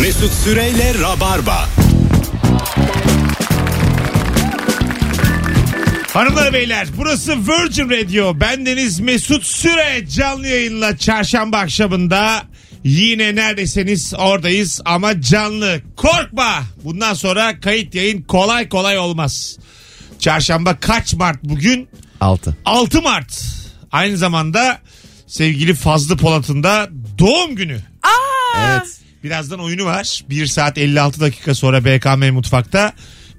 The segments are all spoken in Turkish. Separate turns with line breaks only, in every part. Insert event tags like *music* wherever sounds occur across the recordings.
Mesut Süreyle Rabarba.
Hanımlar beyler burası Virgin Radio. Bendeniz Mesut Süre canlı yayınla çarşamba akşamında yine neredeseniz oradayız ama canlı. Korkma bundan sonra kayıt yayın kolay kolay olmaz. Çarşamba kaç Mart bugün?
6.
6 Mart. Aynı zamanda sevgili Fazlı Polat'ın da doğum günü.
Evet.
Birazdan oyunu var. 1 saat 56 dakika sonra BKM Mutfak'ta.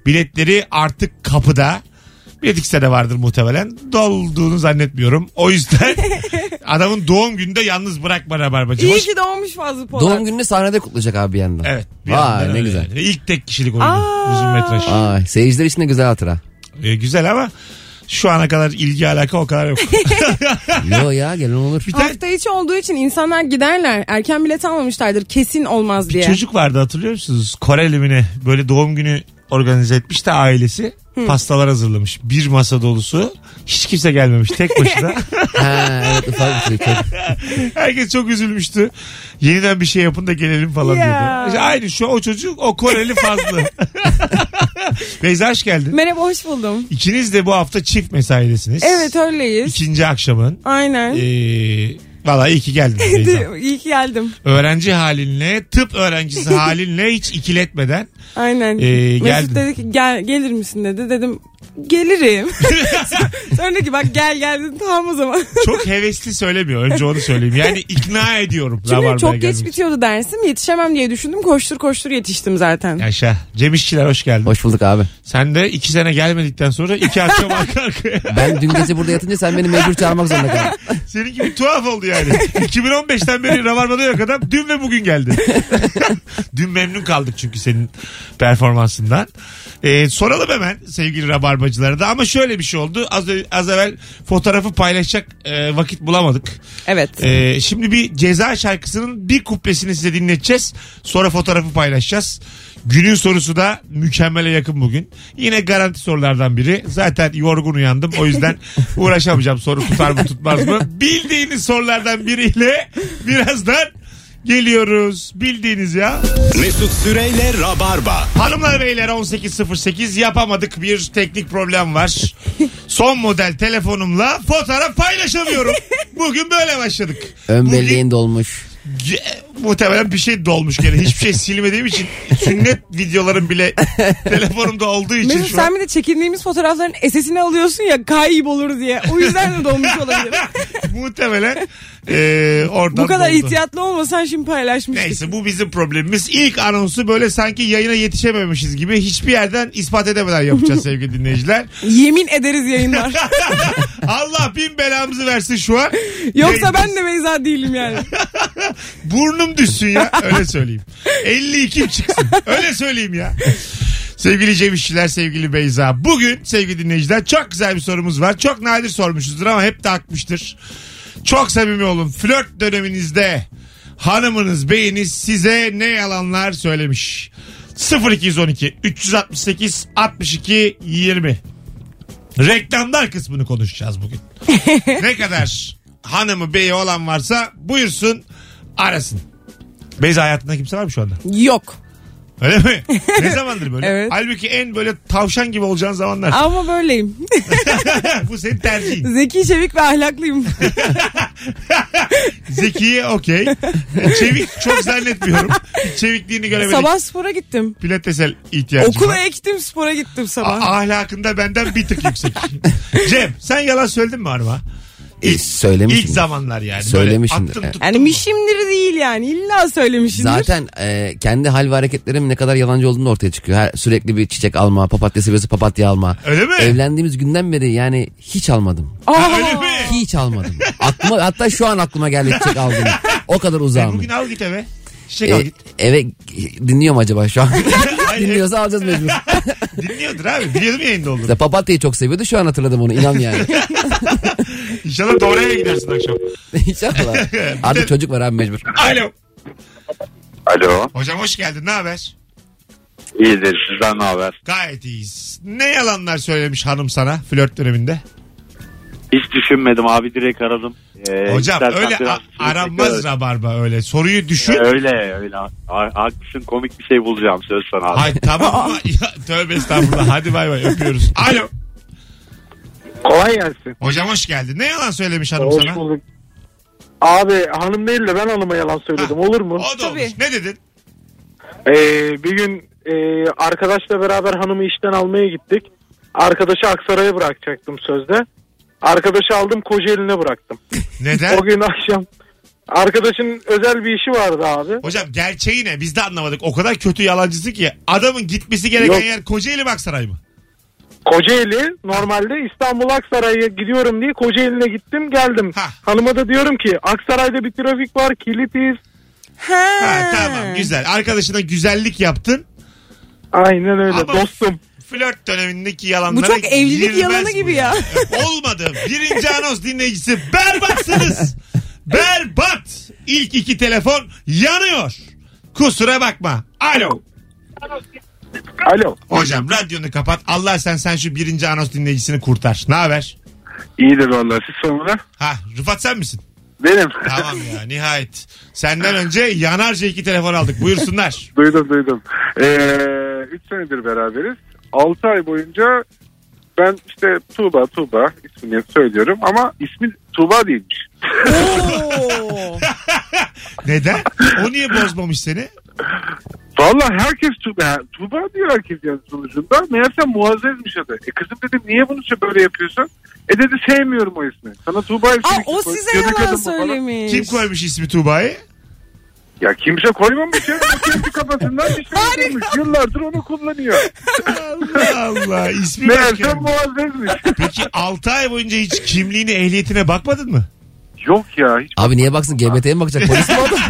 Biletleri artık kapıda. Biletikse de vardır muhtemelen. Dolduğunu zannetmiyorum.
*laughs*
O yüzden adamın doğum gününde yalnız bırakma Rabarbacı.
İyi
Hoş-
ki doğmuş Fazlı Polat.
Doğum gününü sahnede kutlayacak abi bir yandan.
Evet. bir
Vay,
yandan
ne
öyle
güzel.
yani. İlk tek kişilik oyunu.
Aa.
Uzun metraj.
Ay, seyirciler için de güzel
*laughs*
hatıra.
Ee, güzel ama şu ana kadar ilgi alaka
*laughs*
o kadar yok.
Yo ya gelen olur.
Bir tane
Hafta içi olduğu için insanlar giderler. Erken bilet almamışlardır kesin olmaz diye.
çocuk vardı hatırlıyor musunuz? Koreli mi ne? Böyle doğum günü organize etmiş de ailesi. Pastalar hazırlamış. Bir masa dolusu. Hiç kimse gelmemiş. Tek
*laughs*
başına.
ha, evet ufak bir şey. Çok-
Herkes çok üzülmüştü. Yeniden bir şey yapın da gelelim falan
Ya.
diyordu. İşte aynı şu o çocuk o
*laughs*
Koreli fazla. Beyza hoş geldin.
Merhaba hoş buldum.
İkiniz de bu hafta çift mesaidesiniz.
Evet öyleyiz.
İkinci akşamın.
Aynen. *laughs*
Ee, Valla iyi ki geldin Beyza.
De- İyi ki geldim.
Öğrenci halinle, tıp öğrencisi halinle hiç ikiletmeden.
Aynen.
Ee, geldin.
Mesut dedi ki gel, gelir misin dedi. Dedim
*laughs*
gelirim. Sonra dedi ki bak gel gel dedim tamam o zaman.
Çok hevesli söylemiyor. Önce onu söyleyeyim. Yani ikna ediyorum.
Çünkü
Rabarba'ya
çok geç
gelmek.
bitiyordu dersim yetişemem diye düşündüm koştur koştur yetiştim zaten.
Yaşa. Cem İşçiler hoş geldin.
Hoş bulduk abi.
Sen de iki sene gelmedikten sonra iki akşam arka arkaya.
*laughs*
Ben dün gece burada yatınca sen beni mecbur çağırmak zorunda
*laughs*
kaldın.
Senin gibi tuhaf oldu yani. 2015'ten beri Rabarba'da yok adam. Dün ve
*laughs*
bugün geldi. Dün memnun kaldık çünkü senin performansından. Ee, soralım hemen sevgili Rabarbacılara da. Ama şöyle bir şey oldu. Az, ö- az evvel fotoğrafı paylaşacak e, vakit bulamadık.
Evet.
Ee, şimdi bir ceza şarkısının bir kuplesini size dinleteceğiz. Sonra fotoğrafı paylaşacağız. Günün sorusu da mükemmele yakın bugün. Yine garanti sorulardan biri. Zaten yorgun uyandım o yüzden uğraşamayacağım soru tutar mı tutmaz mı. Bildiğiniz sorulardan biriyle birazdan geliyoruz. Bildiğiniz ya.
Mesut Süreyle Rabarba.
Hanımlar beyler 18.08 yapamadık bir teknik problem var. Son model telefonumla fotoğraf paylaşamıyorum. Bugün böyle başladık.
Ön
Bugün
belleğin dolmuş.
Ge- muhtemelen bir şey dolmuş gene. Hiçbir şey silmediğim için sünnet videolarım
*laughs*
bile telefonumda olduğu için
Mesut
şu an.
sen bir de çekindiğimiz fotoğrafların esesini alıyorsun ya kaybolur diye. O yüzden de
*laughs*
dolmuş olabilir.
muhtemelen e, oradan
Bu kadar
doldu.
ihtiyatlı olmasan şimdi paylaşmıştık.
Neyse bu bizim problemimiz. İlk anonsu böyle sanki yayına yetişememişiz gibi hiçbir yerden ispat edemeden yapacağız sevgili
*laughs*
dinleyiciler. *laughs*
Yemin ederiz yayınlar.
Allah bin belamızı versin şu an.
Yoksa
Yayın-
ben de Beyza değilim yani.
Burnum düşsün ya öyle söyleyeyim. 52 çıksın öyle söyleyeyim ya. Sevgili Cem İşçiler, sevgili Beyza. Bugün sevgili dinleyiciler çok güzel bir sorumuz var. Çok nadir sormuşuzdur ama hep de akmıştır. Çok samimi olun. Flört döneminizde hanımınız, beyiniz size ne yalanlar söylemiş? 0212 368 62 20 Reklamlar kısmını konuşacağız bugün. ne kadar hanımı beyi olan varsa buyursun arasın. Beyza hayatında kimse var mı şu anda?
Yok.
Öyle mi? ne zamandır böyle?
Evet.
Halbuki en böyle tavşan gibi olacağın zamanlar.
Ama böyleyim.
*laughs* Bu senin tercihin.
Zeki, çevik ve
*laughs*
ahlaklıyım.
Zekiye okey. Çevik çok zannetmiyorum. Hiç Çevikliğini göremedik.
sabah spora gittim.
Pilatesel ihtiyacım
Okula
var.
ektim spora gittim sabah.
A- ahlakında benden bir
*laughs*
tık yüksek. Cem sen yalan söyledin mi Arma?
E, söylemişim.
İlk zamanlar yani.
Söylemişimdir.
Böyle attın
Evet.
tuttun
yani
mu?
mişimdir değil yani illa söylemişimdir.
Zaten e, kendi hal ve hareketlerim ne kadar yalancı olduğunu da ortaya çıkıyor. Her, sürekli bir çiçek alma, papatya seviyorsa papatya alma.
Öyle mi?
Evlendiğimiz günden beri yani hiç almadım.
Aa,
Öyle mi?
Hiç almadım. Aklıma, hatta şu an aklıma geldi çiçek aldım. O kadar
E, *laughs*
uzağım.
bugün al git eve. Çiçek al
E,
git.
eve dinliyorum acaba
*laughs*
şu an?
Hayır,
Dinliyorsa alacağız mecbur.
*laughs* Dinliyordur abi. Biliyordum yayında olduğunu.
*laughs* Mesela papatyayı çok seviyordu şu an hatırladım onu inan
*laughs*
yani.
İnşallah doğru eve gidersin akşam.
İnşallah. Artık çocuk var abi mecbur.
Alo.
Alo.
Hocam hoş geldin. Ne haber?
İyidir. Sizden ne haber?
Gayet iyiyiz. Ne yalanlar söylemiş hanım sana flört döneminde?
Hiç düşünmedim abi direkt aradım. Ee,
E,
Hocam
istersen
öyle
biraz
a- aranmaz
tekrar-
rabarba öyle. Soruyu düşün.
Ee, Öyle öyle. Ha- Haklısın komik bir şey bulacağım söz sana abi.
Hay tamam ama ya, tövbe estağfurullah. Hadi bay bay öpüyoruz. Alo.
Kolay gelsin.
Hocam hoş geldin. Ne yalan söylemiş hanım
Hoş
sana?
bulduk. Abi hanım değil de ben hanıma yalan söyledim olur mu?
O da olmuş.
Tabii.
Ne dedin?
Ee, bir gün e, arkadaşla beraber hanımı işten almaya gittik. Arkadaşı Aksaray'a bırakacaktım sözde. Arkadaşı aldım Kocaeli'ne bıraktım.
Neden?
O gün akşam arkadaşın özel bir işi vardı abi.
Hocam gerçeği ne? Biz de anlamadık. O kadar kötü yalancısı ki. Adamın gitmesi gereken
Yok.
yer Kocaeli Baksaray mı?
Kocaeli normalde İstanbul Aksaray'a gidiyorum diye Kocaeli'ne gittim geldim.
Hah.
Hanıma da diyorum ki Aksaray'da bir trafik var kilitiz.
Ha.
Ha, tamam güzel. Arkadaşına güzellik yaptın.
Aynen öyle
Ama-
dostum.
Flört dönemindeki yalanlara
Bu çok evlilik
girmez
yalanı
bu
gibi
*laughs* Olmadı. Birinci anons dinleyicisi
*laughs*
berbatsınız. Berbat. İlk iki telefon yanıyor. Kusura bakma. Alo.
Alo.
Hocam radyonu kapat. Allah sen sen şu birinci anons dinleyicisini kurtar. Ne haber?
İyidir vallahi siz sonra.
Ha Rıfat sen misin?
Benim.
Tamam
*laughs*
ya nihayet. Senden önce yanarca iki telefon aldık. Buyursunlar.
Duydum duydum. 3 senedir beraberiz. 6 ay boyunca ben işte Tuğba Tuğba ismini söylüyorum ama ismi Tuğba değilmiş.
*laughs*
*laughs*
Oo.
*laughs* Neden? O niye bozmamış seni?
Valla herkes Tuğba, yani Tuğba diyor herkes yani sonucunda. Meğerse Muazzez'miş adı. E kızım dedim niye bunu şö- böyle yapıyorsun? E dedi sevmiyorum o ismi. Sana Tuğba ismini
Aa,
kim
o
koy-
size
Göbek adamı
yalan
falan.
söylemiş.
Kim koymuş ismi Tuğba'yı?
Ya kimse koymamış ya. Bu şey, Kendi kafasından bir
*laughs*
şey koymuş. Yıllardır onu kullanıyor.
Allah Allah. ismi
Meğerse
başka.
Muazzez'miş. *laughs*
Peki 6 ay boyunca hiç kimliğine, ehliyetine bakmadın mı?
Yok ya hiç
Abi niye baksın GBT'ye mi bakacak polis mi adam?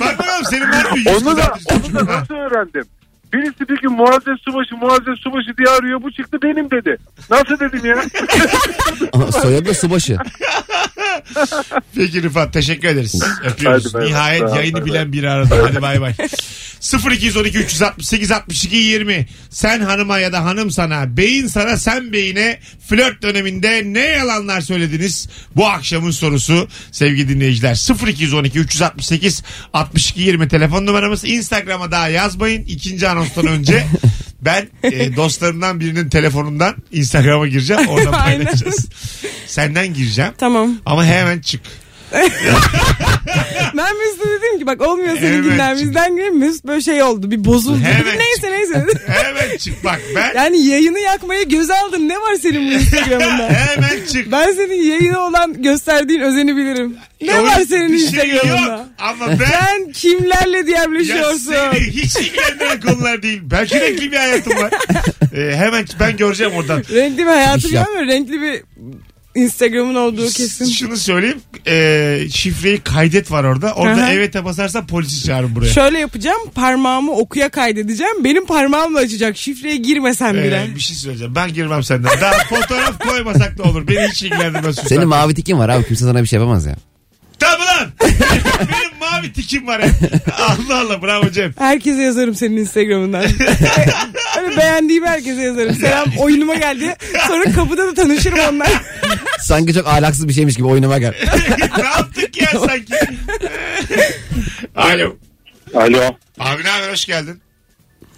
Bakmıyorum senin var mı? yüz
Onu da,
kızartıcı
onu da
çocuğun?
nasıl öğrendim? Birisi bir gün Muazzez Subaşı, Muazzez Subaşı diye arıyor. Bu çıktı benim dedi. Nasıl dedim ya?
Ama Soyadı da subaşı.
Peki Rıfat teşekkür ederiz. Öpüyoruz.
Hadi bay bay.
Nihayet
Sağ ol,
yayını
bay
bilen biri aradı. Hadi bay bay. 0212 368 62 20 Sen hanıma ya da hanım sana, beyin sana, sen beyine flört döneminde ne yalanlar söylediniz? Bu akşamın sorusu sevgili dinleyiciler. 0212 368 62 20 telefon numaramız. Instagram'a daha yazmayın. İkinci anonstan
*laughs*
önce ben e, dostlarımdan birinin telefonundan Instagram'a gireceğim.
*laughs*
Oradan
Aynen.
paylaşacağız. Senden gireceğim.
Tamam.
Ama hemen çık.
Ben Mesut'a dedim ki bak olmuyor senin
Evet.
gündemimizden gibi Mesut böyle şey oldu bir bozuldu.
Evet.
Dedim, *laughs* Neyse neyse.
*laughs* Hemen çık bak ben.
yani yayını yakmaya göz aldın ne var senin bu Instagram'ında?
*laughs* hemen çık.
ben senin yayına olan gösterdiğin özeni bilirim. Ne
Yok,
var senin
bir şey
Instagram'ında?
yok. Ama ben
Sen kimlerle
ya
diyemleşiyorsun?
seni hiç ilgilendiren konular değil. Ben renkli bir hayatım var. Ee, hemen ben göreceğim oradan.
Renkli bir hayatım
İş yap.
var mı? Renkli bir Instagram'ın olduğu kesin.
Şunu söyleyeyim. Ee, şifreyi kaydet var orada. Orada
Aha.
evet'e basarsan polisi çağırın buraya.
Şöyle yapacağım parmağımı okuya kaydedeceğim. Benim parmağımla açacak şifreye girmesem
Ee,
bile.
bir şey söyleyeceğim. Ben girmem senden. Daha fotoğraf koymasak da olur. Beni hiç ilgilendirmez. Sultan.
Senin mavi tikin var abi kimse sana bir şey yapamaz ya.
Tabii lan. *laughs* Benim mavi tikim var. ya. Allah Allah bravo Cem.
Herkese yazarım senin
*laughs*
Instagram'ından. Öyle beğendiğim herkese yazarım. Selam oyunuma geldi. Sonra kapıda da tanışırım onlar.
Sanki çok ahlaksız bir şeymiş gibi oyunuma gel.
*laughs* ne yaptık ya sanki? Alo.
Alo.
Abi ne haber hoş geldin.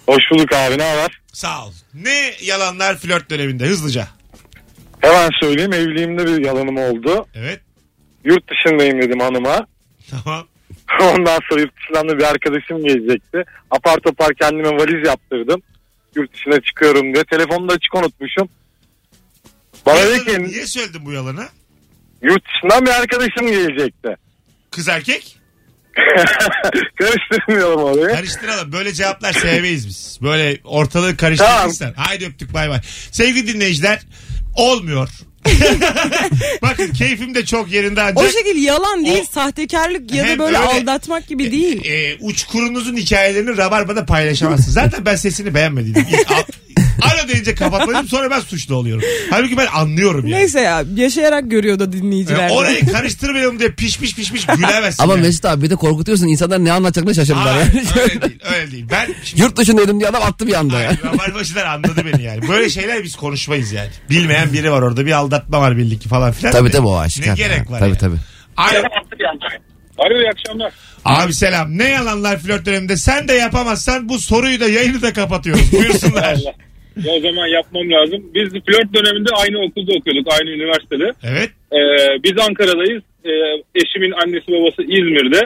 Hoş bulduk abi ne haber?
Sağ ol. Ne yalanlar flört döneminde hızlıca.
Hemen söyleyeyim evliliğimde bir yalanım oldu.
Evet.
Yurt dışındayım dedim hanıma. *laughs*
Tamam.
Ondan sonra yurt dışından da bir arkadaşım gelecekti. Apar topar kendime valiz yaptırdım. Yurt dışına çıkıyorum diye. Telefonu da açık unutmuşum. Bana dedi
Yalanı-
ki
Niye söyledin bu yalanı?
yurt dışından bir arkadaşım gelecekti. *laughs*
Kız erkek?
Karıştırmayalım orayı.
Karıştıralım. Böyle cevaplar sevmeyiz biz. Böyle ortalığı karıştırırsan. Haydi öptük bay bay. Sevgili dinleyiciler olmuyor. *laughs* Bakın keyfim de çok yerinde ancak.
O şekil yalan değil,
O-
sahtekarlık ya da
Hem
böyle
öyle-
aldatmak gibi şey değil. *laughs*
e, uçkurunuzun hikayelerini Rabarba'da paylaşamazsın. Zaten ben sesini beğenmedim. İlk al- alo deyince kapatmadım sonra ben suçlu oluyorum. Halbuki ben anlıyorum yani.
Neyse ya yaşayarak görüyor da
Yani
dinleyiciler. de.
orayı karıştırmayalım diye pişmiş pişmiş gülemezsin.
Ama
yani.
Mesut abi bir de korkutuyorsun. İnsanlar ne anlatacaklarını şaşırdılar.
Hayır,
yani.
öyle değil, öyle değil. Ben
*laughs*
şimdi
Yurt dışındaydım diye adam attı bir anda ya.
Hayır, Rabarbacılar anladı beni yani. Böyle şeyler biz konuşmayız yani. Bilmeyen biri var orada. Bir aldatma var belli ki falan filan.
Tabii
Ne-
tabii o aşikar.
Ne gerek var
Tabii
yani.
tabii.
Alo.
Alo iyi akşamlar.
Abi selam. Ne yalanlar flört döneminde. Sen de yapamazsan bu soruyu da yayını da
*laughs*
kapatıyoruz. Buyursunlar.
Ya o zaman yapmam lazım. Biz flört döneminde aynı okulda okuyorduk, aynı üniversitede.
evet.
Ee, biz Ankara'dayız. Ee, eşimin annesi babası İzmir'de.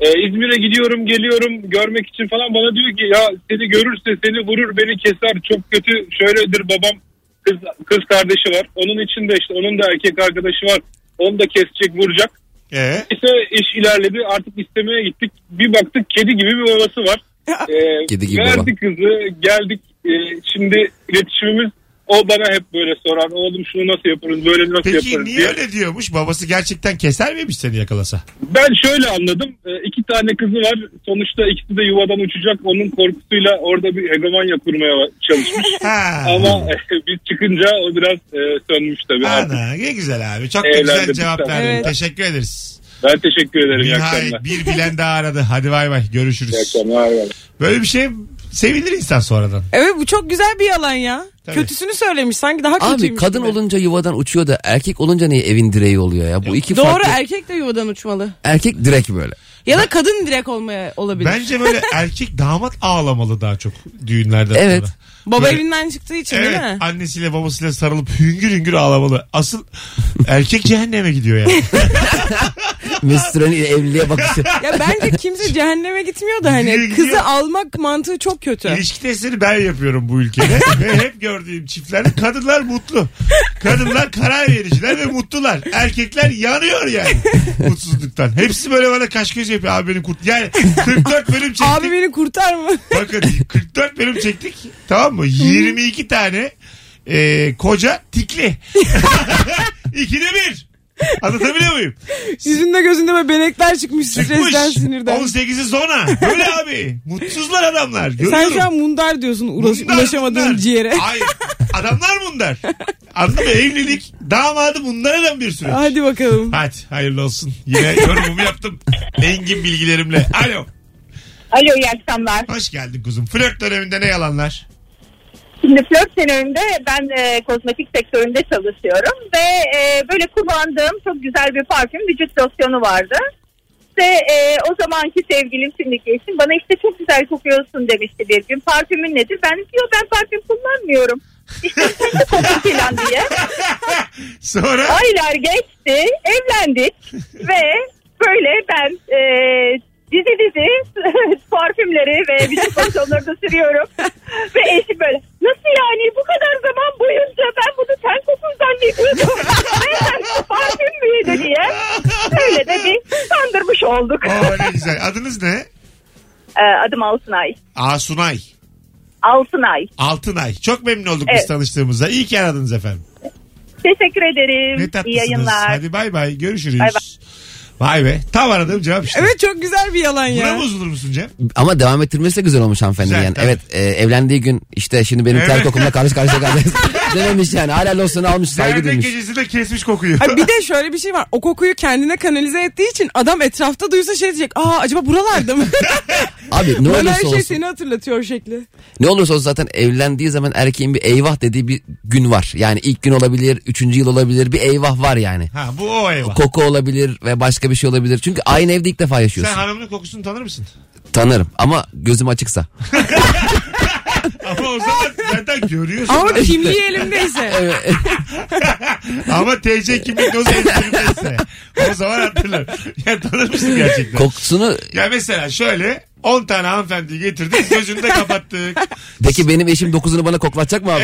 Ee, İzmir'e gidiyorum geliyorum görmek için falan bana diyor ki ya seni görürse seni vurur beni keser çok kötü şöyledir babam kız, kız kardeşi var onun için de işte onun da erkek arkadaşı var onu da kesecek vuracak.
Ee,
İşte iş ilerledi artık istemeye gittik bir baktık kedi gibi bir babası
*laughs*
var. Ee,
Kedi gibi
verdi
baba.
kızı geldik Ee, şimdi iletişimimiz o bana hep böyle sorar oğlum şunu nasıl yaparız böyle nasıl
peki
yaparız
niye
diye.
öyle diyormuş? Babası gerçekten keser miymiş seni yakalasa?
Ben şöyle anladım. E, iki tane kızı var. Sonuçta ikisi de yuvadan uçacak. Onun korkusuyla orada bir hegemonya kurmaya
*laughs*
çalışmış.
Ha.
Ama *laughs* e, biz çıkınca o biraz e, sönmüş tabii. artık.
Ana, ne güzel abi. Çok da güzel
Eğlendirdik
cevap
tabii.
verdin.
Evet.
Teşekkür ederiz.
Ben teşekkür ederim. İyi akşamlar.
Nihayet bir bilen daha aradı. Hadi bay bay.
İyi
Görüşürüz.
akşamlar.
Böyle bir şey sevinir insan sonradan.
Evet bu çok güzel bir yalan ya.
Tabii.
Kötüsünü söylemiş sanki daha kötüymüş.
Abi kadın
gibi.
olunca yuvadan uçuyor da erkek olunca niye evin direği oluyor ya? Bu iki
Doğru
farklı.
erkek de yuvadan uçmalı.
Erkek direk böyle.
Ya da kadın direkt olmaya olabilir. *laughs*
Bence böyle erkek damat ağlamalı daha çok düğünlerden
Evet.
sonra.
Baba
Böyle-
evinden çıktığı için
Evet
değil mi?
annesiyle babasıyla sarılıp hüngür hüngür ağlamalı. Asıl erkek cehenneme gidiyor yani.
Mesut Süren'in evliliğe
*laughs*
bakışı.
Ya bence kimse cehenneme gitmiyor da hani
Gidiyor,
kızı
gidiyor.
almak mantığı çok kötü.
İlişki testini ben yapıyorum bu
*laughs*
ülkede. ve hep gördüğüm çiftlerde kadınlar mutlu. Kadınlar karar vericiler ve mutlular. Erkekler
*laughs*
yanıyor yani mutsuzluktan. Hepsi böyle bana kaş göz yapıyor abi benim kurt. Yani 44 bölüm çektik.
Abi beni kurtar mı?
*laughs* Bakın 44 bölüm çektik. Tamam mı? 22 tane e, koca
*laughs*
tikli. *laughs* İkide bir. Anlatabiliyor muyum?
Yüzünde gözünde böyle benekler çıkmış
Çıkmış.
stresten sinirden.
18'i zona. Böyle abi. Mutsuzlar adamlar.
Sen
Görüyorum.
şu an mundar diyorsun ulaş,
Bunlar,
ulaşamadığın
bunlar.
ciğere.
Hayır. Adamlar bunlar. Anladın mı? Evlilik, damadı bunlardan bir süreç. Hadi.
Hadi bakalım.
hayırlı olsun. Yine yorumumu yaptım. Engin bilgilerimle. Alo.
Alo iyi akşamlar.
Hoş geldin kuzum. Flört döneminde ne yalanlar?
Şimdi flört döneminde ben e, kozmetik sektöründe çalışıyorum ve e, böyle kullandığım çok güzel bir parfüm vücut losyonu vardı. İşte e, o zamanki sevgilim şimdiki eşim bana işte çok güzel kokuyorsun demişti bir gün. Parfümün nedir? Ben de diyor ben parfüm kullanmıyorum. İşte sen de kokun falan diye.
Sonra
Aylar geçti,
*laughs*
evlendik ve böyle ben e, dizi dizi *laughs* parfümleri ve vücut losyonları da
*laughs*
sürüyorum. ve eşim böyle nasıl yani bu kadar zaman boyunca ben bunu ten koku zannediyordum.
*laughs*
Meğer bu parfüm müydü diye. Öyle de bir kandırmış olduk.
Oo ne güzel. Adınız ne?
E, adım Altınay.
Asunay.
Altınay.
Altınay. Çok memnun olduk biz
Evet.
tanıştığımıza. İyi ki aradınız efendim.
Teşekkür ederim.
Ne
İyi
tatlısınız.
yayınlar.
Hadi bay bay. Görüşürüz.
Bay
Vay be. Tam aradığım cevap işte.
Evet çok güzel bir yalan
Buna
ya.
bozulur musun Cem?
Ama devam ettirmesi de güzel olmuş hanımefendi.
Güzel,
yani.
tabii.
Evet e, evlendiği gün işte şimdi benim ter
Evet.
kokumla karşı karşıya
*laughs*
kalacağız. Dememiş yani hala losyonu almış saygı
Nerede
duymuş.
gecesinde kesmiş kokuyu.
Ha, bir de şöyle bir şey var. O kokuyu kendine kanalize ettiği için adam etrafta duysa şey diyecek. Aa acaba buralarda mı?
Abi ne
*laughs* Bana her
olursa
şey
olsun.
seni hatırlatıyor o şekli.
Ne olursa olsun zaten evlendiği zaman erkeğin bir eyvah dediği bir gün var. Yani ilk gün olabilir, üçüncü yıl olabilir bir eyvah var yani.
Ha bu o eyvah.
Koku olabilir ve başka bir şey olabilir. Çünkü aynı evde ilk defa
Sen
yaşıyorsun.
hanımın kokusunu tanır mısın?
Tanırım ama gözüm açıksa.
Ama
*laughs*
o zaman zaten görüyorsun.
Ama
Ama,
kimliği elimdeyse.
Ama TC kimlik dozu ezdirmezse. O zaman hatırlar. Ya tanır mısın gerçekten?
Kokusunu
ya mesela şöyle 10 tane hanımefendiyi getirdik gözünü de kapattık.
peki benim eşim dokuzunu bana koklatacak mı
*laughs*
abi?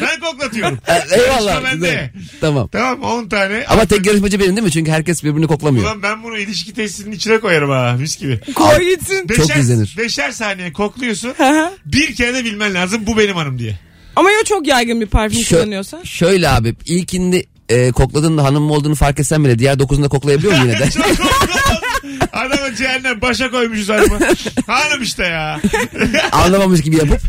ben koklatıyorum. Karışma
Eyvallah.
bende.
güzel. Tamam.
Tamam 10 tane.
Ama tek yarışmacı benim değil mi? Çünkü herkes birbirini koklamıyor.
Ulan ben bunu ilişki testinin içine koyarım ha mis gibi.
Koy gitsin.
Çok izlenir.
Beşer saniye kokluyorsun.
hı.
bir kere de bilmen lazım bu benim hanım diye.
Ama ya çok yaygın bir parfüm
Şö-
kullanıyorsa?
şöyle abi
*laughs*
ilkinde e, kokladığında hanımım olduğunu fark etsen bile diğer dokuzunda koklayabiliyor muyum yine de?
*laughs* Çok koklamaz Adamı cehennem başa koymuşuz hanıma. Hanım işte ya.
Anlamamış gibi
*laughs*
yapıp.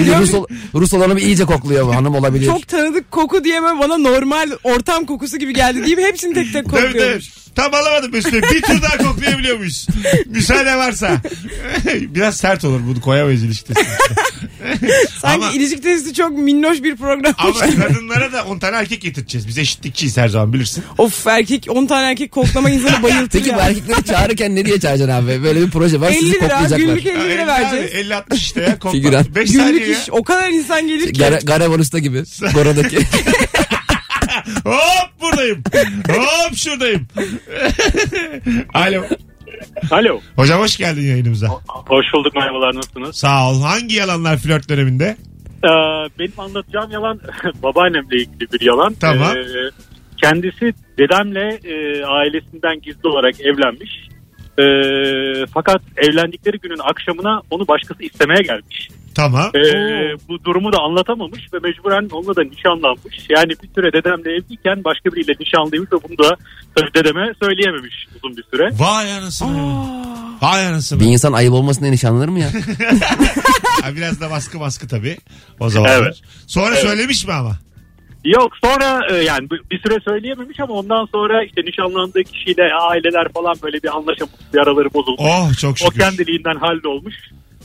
bir de Rus, ol- Rus olanı bir iyice kokluyor bu hanım olabilir.
Çok tanıdık koku diyemem bana normal ortam kokusu gibi geldi diyeyim hepsini tek tek
Tabii, tabii.
kokluyormuş.
Tam alamadım Mesut Bey. Bir tur daha koklayabiliyor muyuz? Müsaade varsa. Biraz sert olur bunu koyamayız ilişkisine.
Sanki
Ama-
ilişki testi çok minnoş bir programmış.
Ama kadınlara da 10 tane erkek getireceğiz. Biz eşitlikçiyiz her zaman bilirsin.
of erkek 10 tane erkek koklama insanı bayıltır
Peki bu
ya.
erkekleri çağırırken nereye çağıracaksın abi? Böyle bir proje var
50
sizi
lira
koklayacaklar. e,
günlük 50 lira vereceğiz.
50-60 işte ya.
Figüran.
5 saniye
Günlük
ya.
iş o kadar insan gelir ki.
Gare, Garevan Usta gibi.
*laughs*
Gora'daki.
Hop buradayım. Hop şuradayım. Alo.
Alo.
Hocam hoş geldin yayınımıza.
Hoş bulduk merhabalar nasılsınız?
Sağ ol. Hangi yalanlar flört döneminde?
Ee, benim anlatacağım yalan *laughs* babaannemle ilgili bir yalan.
Tamam.
Ee, kendisi dedemle e, ailesinden gizli olarak evlenmiş. Ee, fakat evlendikleri günün akşamına onu başkası istemeye gelmiş.
Tamam.
Ee, bu durumu da anlatamamış ve mecburen onunla da nişanlanmış. Yani bir süre dedemle evliyken başka biriyle nişanlıymış ve bunu da tabii dedeme söyleyememiş uzun bir süre.
Vay anasını. Vay anasını.
bir insan ayıp olmasın diye nişanlanır
*laughs*
mı ya?
Ha, biraz da baskı baskı tabii. O zaman.
Evet.
Sonra söylemiş mi ama?
Yok sonra e, yani bu- bir süre söyleyememiş ama ondan sonra işte nişanlandığı kişiyle aileler falan böyle bir anlaşamamış bir araları bozulmuş.
Oh çok
o
şükür.
kendiliğinden hallolmuş.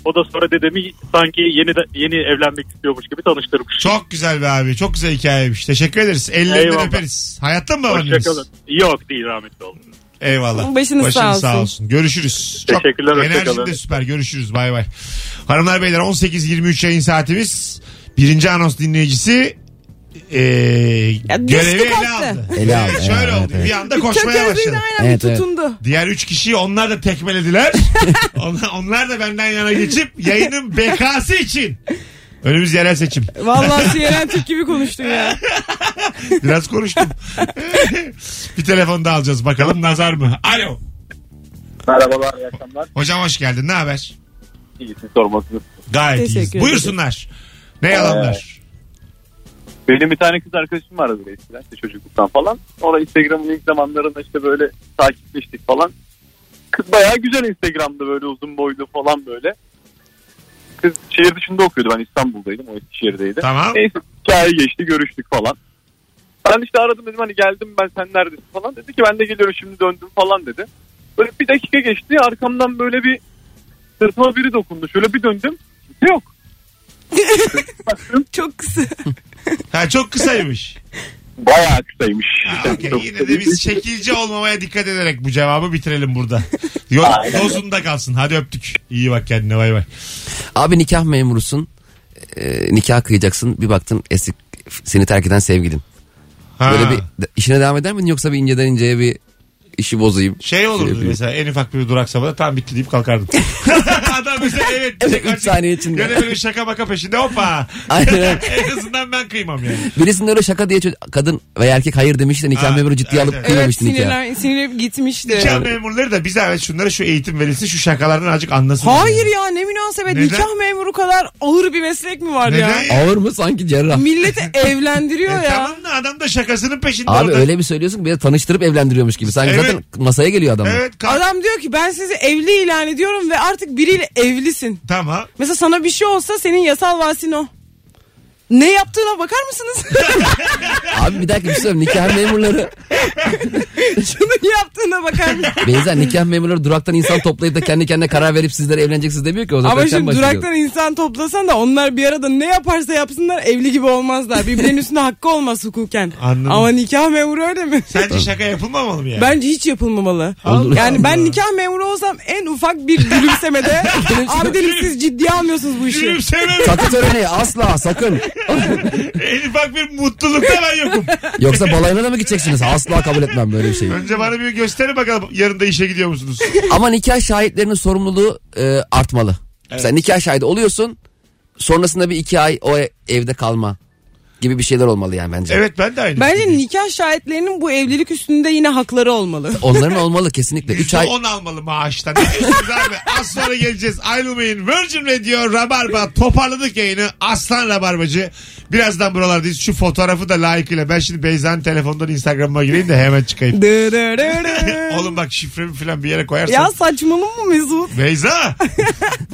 O da sonra dedemi sanki yeni de- yeni evlenmek istiyormuş gibi tanıştırmış.
Çok güzel be abi. Çok güzel hikayeymiş. Teşekkür ederiz. Ellerinden
Eyvallah.
öperiz. Hayatta mı babaanneniz?
Hoşçakalın. Yok değil rahmetli oldu.
Eyvallah.
Başınız sağ olsun.
Görüşürüz.
Teşekkürler, hoşça
Enerjin
kalın.
de süper. Görüşürüz. Bay bay. Hanımlar beyler 18-23 yayın saatimiz. Birinci anons dinleyicisi e,
Ya,
görevi
düştü
ele
kalktı.
aldı.
Ele aldı,
Şöyle
evet,
oldu.
evet.
Bir anda koşmaya başladı.
Tökezledi aynen
Evet,
bir
evet.
tutundu.
Diğer üç kişiyi onlar da tekmelediler.
*laughs*
onlar, onlar da benden yana geçip yayının bekası için. Önümüz yerel seçim.
Vallahi CNN Türk gibi konuştun ya.
Biraz konuştum. *laughs* bir telefon daha alacağız bakalım nazar mı? Alo.
Merhabalar, iyi akşamlar.
Hocam hoş geldin. Ne haber?
İyi, siz sormasınız.
Gayet
Teşekkür
iyiyiz.
ederim.
Buyursunlar. Ne yalanlar?
Benim bir tane kız arkadaşım vardı böyle eskiden işte çocukluktan falan. O da Instagram'ın ilk zamanlarında işte böyle takipleştik falan. Kız bayağı güzel Instagram'da böyle uzun boylu falan böyle. Kız şehir dışında okuyordu ben İstanbul'daydım o
Ee,
Eskişehir'deydi.
Tamam.
e-
Neyse hikaye geçti görüştük falan. Ben işte aradım dedim hani geldim ben sen neredesin falan. Dedi ki ben de geliyorum şimdi döndüm falan dedi. Böyle bir dakika geçti arkamdan böyle bir sırtıma biri dokundu. Şöyle bir döndüm kimse yok. Baktım
Çok kısa.
Ha, çok kısaymış.
bayağı kısaymış.
Ha, okey. Yine de biz şekilci olmamaya dikkat ederek bu cevabı bitirelim burada. Yok, dozunda kalsın. Hadi öptük. İyi bak kendine bay bay.
Abi nikah memurusun. Ee, nikah kıyacaksın. Bir baktın eski seni terk eden sevgilin.
Ha,
Böyle bir işine devam eder miydin yoksa bir inceden inceye bir işi bozayım.
Şey olurdu
yapayım.
mesela en ufak bir duraksamada tam bitti
*laughs*
deyip kalkardım. Adam mesela evet.
Evet,
diyecek
üç
artık.
saniye içinde.
Gene böyle şaka maka peşinde hoppa.
*laughs* Aynen.
*laughs* en azından ben kıymam yani.
Birisinin öyle şaka diye çocuk- kadın veya erkek hayır demişti de
Ha,
nikah memuru ciddiye
evet,
alıp
evet.
Evet
kıymamıştı nikah.
sinirler, sinirler gitmişti.
Nikah memurları da bize evet şunlara şu eğitim verilsin şu şakalardan azıcık anlasın.
Hayır ya ne münasebet
Neden?
nikah memuru kadar ağır bir meslek mi var ya?
Neden ya?
Ağır mı sanki cerrah?
Milleti
*laughs*
evlendiriyor
E,
ya.
tamam da adam da şakasının peşinde.
Abi
orada.
öyle bir söylüyorsun ki bir de tanıştırıp evlendiriyormuş gibi. Sanki
Evet.
zaten masaya geliyor adam.
Evet kalk.
Adam diyor ki ben sizi evli ilan ediyorum ve artık biriyle evlisin.
Tamam.
Mesela sana bir şey olsa senin yasal vasin o. Ne yaptığına bakar mısınız? *laughs*
*laughs*
Abi bir dakika bir şey söyleyeyim. Nikah memurları.
Şunun yaptığına bakar mısınız?
Beyza nikah memurları duraktan insan toplayıp da kendi kendine karar verip sizlere evleneceksiniz demiyor ki. O zaten
Ama
sen
şimdi
başlıyorsun.
duraktan insan toplasan da onlar bir arada ne yaparsa yapsınlar evli gibi olmazlar. Birbirinin üstüne hakkı olmaz hukuken.
Anladım.
Ama nikah memuru öyle mi?
Sence şaka yapılmamalı mı
*laughs*
yani?
Bence hiç yapılmamalı.
Olur.
Yani ben nikah memuru olsam en ufak bir gülümsemede abi dedim siz ciddiye almıyorsunuz bu
şey-
işi.
Gülümseme
Takı töreni asla sakın. *laughs*
en ufak bir mutlulukta ben yokum.
Yoksa balayına da mı gideceksiniz? Asla kabul etmem böyle bir şeyi.
Önce bana bir gösterin bakalım yarın da işe
*laughs*
gidiyor musunuz?
Ama nikah şahitlerinin sorumluluğu e, artmalı. Mesela nikah şahidi oluyorsun. Sonrasında bir iki ay o e- evde kalma gibi bir şeyler olmalı yani bence.
Evet ben de aynı.
Bence nikah şahitlerinin bu evlilik üstünde yine hakları olmalı. *laughs*
Onların olmalı kesinlikle. Üç
*laughs*
ay
10 almalı maaştan. Ne diyorsunuz abi? Az sonra geleceğiz. Ayrılmayın. Virgin Radio Rabarba toparladık yayını. Aslan Rabarbacı. Birazdan buralardayız. Şu fotoğrafı da layıkıyla. Ben şimdi Beyza'nın telefondan Instagram'ıma gireyim de
*laughs*
hemen çıkayım.
Dırırırı.
Oğlum bak şifremi falan bir yere koyarsan.
ya saçmalama mı Mesut?
Beyza!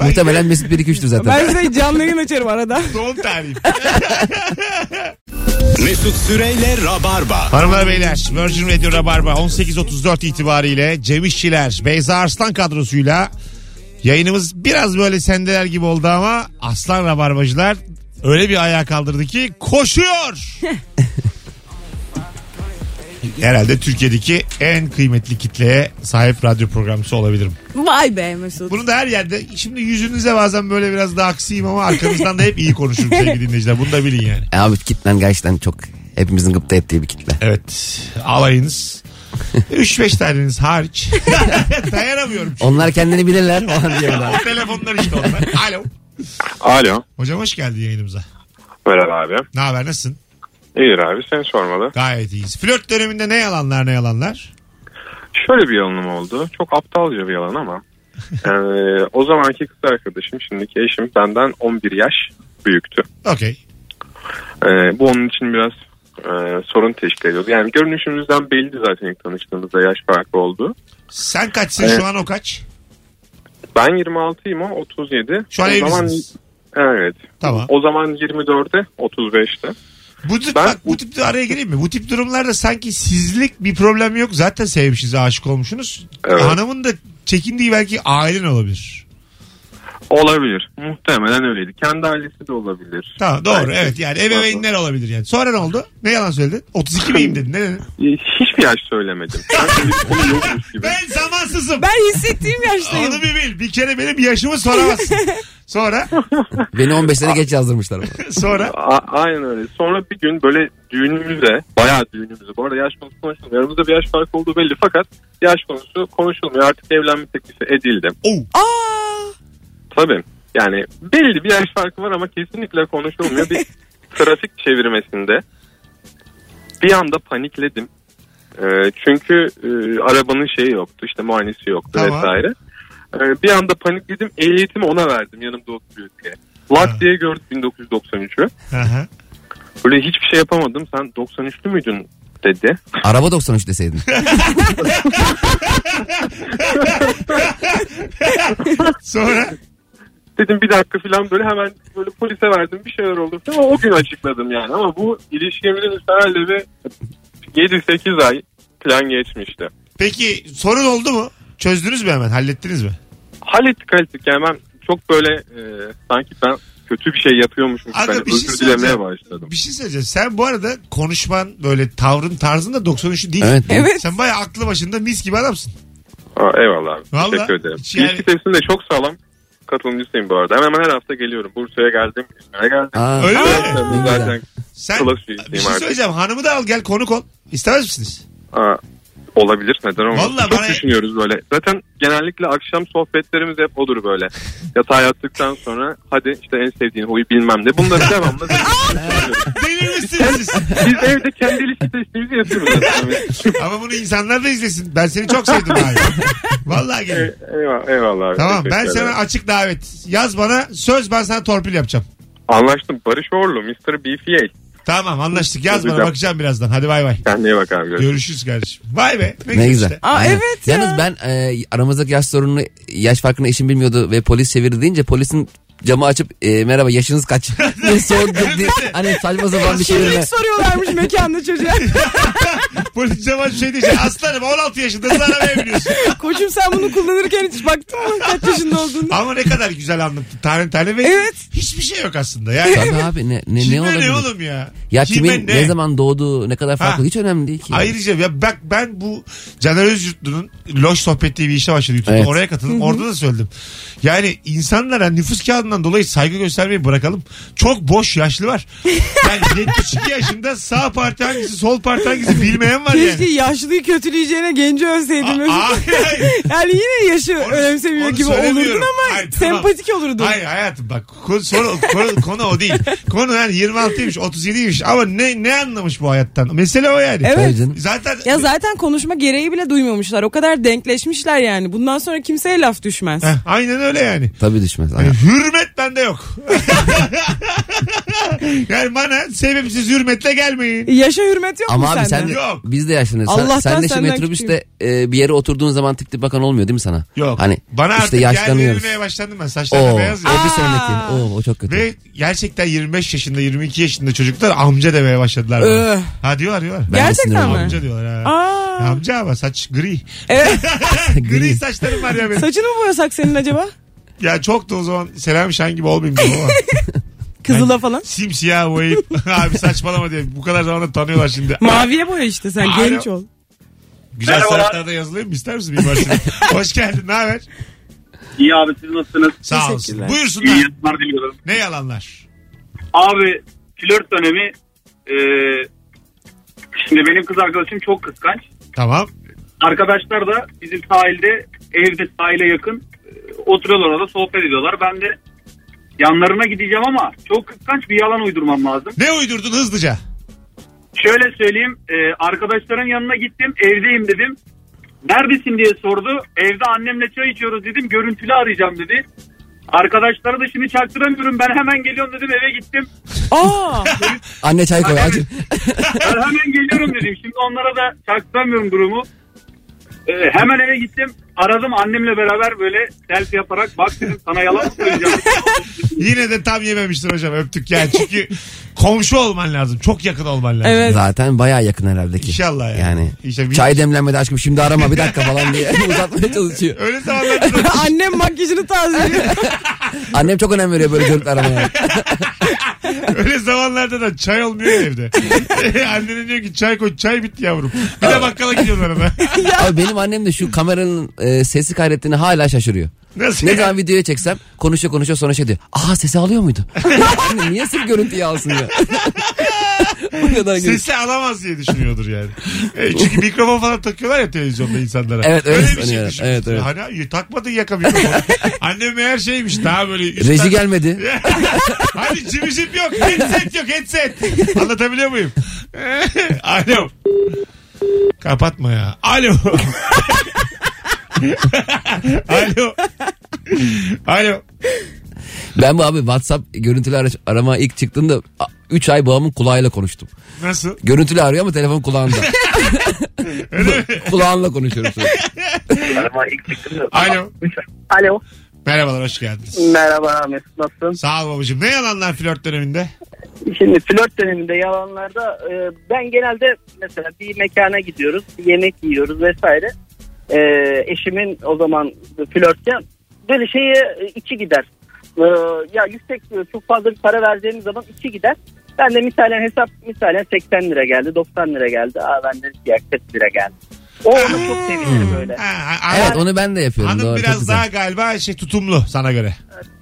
Muhtemelen Mesut 1-2-3'tür zaten.
Ben size canlı yayın açarım arada.
Doğum tarihim.
Mesut Süreyle Rabarba.
Hanımlar beyler Virgin Radio Rabarba 18.34 itibariyle Cem İşçiler, Beyza Arslan kadrosuyla yayınımız biraz böyle sendeler gibi oldu ama Aslan Rabarbacılar öyle bir ayağa kaldırdı ki koşuyor. Herhalde Türkiye'deki en kıymetli kitleye sahip radyo programcısı olabilirim.
Vay be Mesut.
Bunu da her yerde şimdi yüzünüze bazen böyle biraz daha aksiyim ama arkanızdan da hep iyi konuşurum sevgili dinleyiciler. Bunu da bilin yani.
E Abi kitlen gerçekten çok hepimizin gıpta ettiği bir kitle.
Evet. Alayınız. 3-5 taneniz hariç. *laughs* Dayanamıyorum. çünkü.
Onlar kendini bilirler falan diyorlar.
O telefonlar işte onlar. Alo.
Alo.
Hocam hoş geldin yayınımıza.
Merhaba abi.
Ne haber nasılsın?
İyidir abi seni sormalı.
Gayet iyiyiz. Flört döneminde ne yalanlar ne yalanlar?
Şöyle bir yalanım oldu. Çok aptalca bir yalan ama. Ee, o zamanki kız arkadaşım şimdiki eşim benden 11 yaş büyüktü.
Okey.
Ee, bu onun için biraz e, sorun teşkil ediyordu. Yani görünüşümüzden belli zaten ilk tanıştığımızda yaş farkı oldu.
Sen kaçsın
Evet.
şu an o kaç?
Ben 26'yım o 37.
Şu an
o zaman,
evlisiniz.
Evet.
Tamam.
O zaman 24'e 35'te.
Bu tip,
Ben-
bak, bu tip de araya gireyim mi? Bu tip durumlarda sanki sizlik bir problem yok. Zaten sevmişiz, aşık olmuşsunuz.
Evet.
Hanımın da çekindiği belki ailen olabilir.
Olabilir. Muhtemelen öyleydi. Kendi ailesi de olabilir.
Tamam doğru
Belki.
evet yani ebeveynler olabilir yani. Sonra ne oldu? Ne yalan söyledin? 32 miyim dedin? Ne dedin?
*laughs* Hiçbir yaş söylemedim. Sanki bir konu yokmuş gibi.
Ben zamansızım.
Ben hissettiğim yaştayım.
Onu bir bil. Bir kere benim yaşımı soramazsın. Sonra
Beni 15 sene geç yazdırmışlar. ama.
sonra
A- aynen öyle. Sonra bir gün böyle düğünümüze, bayağı düğünümüze. Bu arada yaş konusu konuşulmuyor. Aramızda bir yaş farkı olduğu belli fakat yaş konusu konuşulmuyor. Artık evlenme teklifi edildi.
Oo.
Aa,
Tabii. Yani belli bir yaş farkı var ama kesinlikle konuşulmuyor. Bir trafik çevirmesinde bir anda panikledim. Ee, çünkü e, arabanın şeyi yoktu. işte muayenesi yoktu
Tamam.
vesaire. Ee, bir anda panikledim. Ehliyetimi ona verdim yanımda oturuyor diye.
Ha.
Lak diye gördük 1993'ü. *laughs*
Aha.
Böyle hiçbir şey yapamadım. Sen 93'lü müydün dedi.
Araba 93 deseydin.
sonra
Dedim bir dakika falan böyle hemen böyle polise verdim bir şeyler oldu falan. O gün açıkladım yani ama bu ilişkimizin herhalde bir 7-8 ay plan geçmişti.
peki sorun oldu mu? Çözdünüz mü hemen? Hallettiniz mi?
Hallettik hallettik yani ben çok böyle e, sanki ben kötü bir şey yapıyormuşum.
Aga,
Hani
bir şey
özür dilemeye
söyleyeceğim.
başladım.
Bir şey söyleyeceğim. Sen bu arada konuşman böyle tavrın tarzın da 93'lü değil.
Evet.
evet.
Sen bayağı aklı başında mis gibi adamsın.
Aa, eyvallah abi.
Vallahi
Teşekkür ederim.
hiç yani-
İlişki testinde çok sağlam katılımcısıyım bu arada. Hemen hemen her hafta geliyorum. Bursa'ya geldim. İzmir'e geldim.
Aa,
Öyle mi?
Zaten-
Ne güzel.
Zaten
Sen
Kulak
bir
üyesiyim
şey
artık.
söyleyeceğim. Hanımı da al gel konuk ol. İstemez misiniz?
Aa, olabilir neden olmaz.
Vallahi
Çok
bana-
düşünüyoruz böyle. Zaten genellikle akşam sohbetlerimiz hep odur böyle. Yatağa yattıktan sonra hadi işte en sevdiğin huyu bilmem
*laughs*
ne. Bunları devamlı
Delirmişsiniz siz.
Biz evde kendi ilişki testimizi yapıyoruz. aslında.
Ama bunu insanlar da izlesin. Ben seni çok sevdim abi. Vallahi geliyorum.
eyvallah, E, eyvallah. abi.
Tamam ben
Teşekkür
sana
ederim.
açık davet. Yaz bana söz ben sana torpil yapacağım.
Anlaştım. Barış Orlu, Mr. BFA.
Tamam anlaştık. Yaz bana
Güzel.
bakacağım birazdan. Hadi bay bay.
Kendine iyi bak abi. Görüşürüz.
Görüşürüz kardeşim. Vay be. Ne,
Ne güzel.
işte. *laughs*
Aa,
Aynen.
evet ya.
Yalnız ben e, aramızdaki yaş sorununu yaş farkını eşim bilmiyordu ve polis çevirdi deyince polisin camı açıp e, merhaba yaşınız
*laughs*
kaç diye sordu. Di- hani saçma sapan bir
Kimlik
çevirme.
soruyorlarmış mekanda çocuğa.
Polis cevap şey diyecek. Aslanım 16 yaşında sana
*laughs*
ne biliyorsun?
Koçum sen bunu kullanırken hiç baktın mı kaç yaşında olduğunu?
Ama ne kadar güzel anlattın. Tane tane ve
Evet.
hiçbir şey yok aslında. Yani
Tabii abi ne, ne, ne
kime ne,
olabilir?
oğlum ya?
Ya
Kime
kimin ne? zaman doğduğu ne kadar farklı
Ha.
hiç önemli değil ki.
Ayrıca ya bak ben bu Caner Özyurtlu'nun Loş Sohbet diye bir işe başladı YouTube'da.
Evet.
Oraya katıldım. Orada da söyledim. Yani insanlara nüfus kağıdından dolayı saygı göstermeyi bırakalım. Çok boş yaşlı var.
*laughs*
Yani 72 yaşında sağ parti hangisi sol parti hangisi bilmeyen var
Keşke *laughs*
yani.
yaşlıyı kötüleyeceğine genci övseydin.
A- a- hayır.
yani yine yaşı önemsemiyor
onu
gibi olurdun
söylemiyorum.
ama
Hayır, tamam.
sempatik olurdun.
Hayır hayatım bak konu, soru- konu, konu o değil. Konu yani 26'ymış 37'ymiş ama ne ne anlamış bu hayattan? Mesele o yani.
Evet.
Tabii canım.
Zaten
Ya zaten konuşma gereği bile duymamışlar. O kadar denkleşmişler yani. Bundan sonra kimseye laf düşmez.
Heh, aynen öyle yani.
Tabii düşmez.
Yani
Aynen.
hürmet Hürmet bende yok. *laughs* yani bana sebepsiz hürmetle gelmeyin.
Yaşa hürmet yok
Ama
mu
abi sen
sende?
de,
Yok.
biz de yaşlanırız. Sen,
Allah'tan
sen de şimdi
senden
metrobüste e, bir yere oturduğun zaman tık tık bakan olmuyor değil mi sana?
Yok.
Hani
bana
işte
artık gel
yaşlanıyoruz.
verilmeye başladım ben.
Oo, Ee,
Saçlarım da
o
beyaz ya.
bir sonraki. Oo, o çok kötü.
Ve gerçekten 25 yaşında 22 yaşında çocuklar amca demeye başladılar. bana.
Öh.
ha diyorlar diyorlar.
Ee. Ben de
Gerçekten
sinirim
mi?
oluyorum.
Amca diyorlar ha.
Aa.
Amca ama saç
*laughs*
gri.
Evet.
Gri saçlarım var ya benim.
Saçını mı boyasak senin acaba?
Ya çok da o zaman Selam Şen gibi olmayayım dedim ama.
Kızıla falan.
Simsiyah boyayıp *laughs* abi saçmalama diye. Bu kadar zamanda tanıyorlar şimdi.
Maviye boya işte sen
Alo.
genç ol.
Güzel sanatlarda yazılıyor mu? İster misin bir varsın? Hoş geldin. Ne haber?
İyi abi siz nasılsınız?
Sağ olsun.
Teşekkürler.
İyi
Buyursunlar.
yayınlar diliyorum.
Ne yalanlar?
Abi flört dönemi e, şimdi benim kız arkadaşım çok kıskanç.
Tamam.
Arkadaşlar da bizim sahilde evde sahile yakın e, oturuyorlar orada sohbet ediyorlar. Ben de yanlarına gideceğim ama çok kıskanç bir yalan uydurmam lazım.
Ne uydurdun hızlıca?
Şöyle söyleyeyim e, arkadaşların yanına gittim evdeyim dedim. Neredesin diye sordu. Evde annemle çay içiyoruz dedim. Görüntülü arayacağım dedi. Arkadaşlara da şimdi çaktıramıyorum. Ben hemen geliyorum dedim eve gittim.
*laughs*
Aa.
Anne çay koy acil.
Ben hemen geliyorum dedim. Şimdi onlara da çaktıramıyorum durumu. Ee, hemen eve gittim. Aradım annemle beraber böyle selfie yaparak bak dedim sana yalan söyleyeceğim.
Yine de tam yememiştir hocam. Öptük yani.
*laughs*
Çünkü komşu olman lazım. Çok yakın olman lazım.
Evet. *laughs*
Zaten bayağı yakın herhalde ki.
İnşallah yani.
Yani.
İşte bir-
Çay demlenmedi aşkım şimdi arama bir dakika falan diye *laughs* uzatmaya çalışıyor. *laughs*
Öyle zamanlarda da-
Annem makyajını tazeliyor.
Annem çok önem veriyor böyle görüntü
*laughs*
aramaya.
öyle zamanlarda da çay olmuyor ya evde. *laughs* Annene diyor ki çay koy çay bitti yavrum. Bir de bakkala
*laughs*
gidiyorsun arada.
Abi benim annem de şu kameranın e, sesi kaydettiğini hala şaşırıyor.
Nasıl?
Ne
ya?
zaman videoya çeksem konuşuyor konuşuyor sonra şey diyor. Aha sesi alıyor muydu? *laughs* Anne niye sırf görüntüyü alsın ya? *laughs* Bu kadar gülüş.
Sesi alamaz diye düşünüyordur yani. E, çünkü mikrofon falan takıyorlar ya televizyonda insanlara.
Evet, öyle
öyle bir şey
sanıyorum.
düşünmüştür.
Evet, evet.
Hani takmadın yaka mikrofonu. *laughs* Annem her şeymiş daha böyle. üstten-
Reji gelmedi.
Hani cimicim yok. Headset yok headset. Anlatabiliyor muyum? *laughs* Alo. Kapatma ya. Alo. *laughs* Alo. Alo.
Ben bu abi WhatsApp görüntülü ara- arama ilk çıktığında 3 ay babamın kulağıyla konuştum.
Nasıl?
Görüntülü arıyor ama telefon kulağında.
*laughs* Öyle mi?
*laughs* Kulağınla konuşuyorum sürekli.
Alo.
Alo.
Merhabalar hoş geldiniz.
Merhaba Mesut nasılsın?
Sağ ol babacığım. Ne yalanlar flört döneminde?
Şimdi flört döneminde yalanlarda e, ben genelde mesela bir mekana gidiyoruz, yemek yiyoruz vesaire. E, eşimin o zaman flörtken böyle şeye e, içi gider. E, ya yüksek e, çok fazla bir para vereceğiniz zaman içi gider. Ben de misalen hesap misalen 80 lira geldi, 90 lira geldi. Aa ben de ya 40 lira geldi. O onu çok sevinir böyle.
Ha, a-
Evet
hanım-
onu ben de yapıyorum.
hanım
Doğru, çok
biraz
güzel.
daha galiba şey tutumlu sana göre.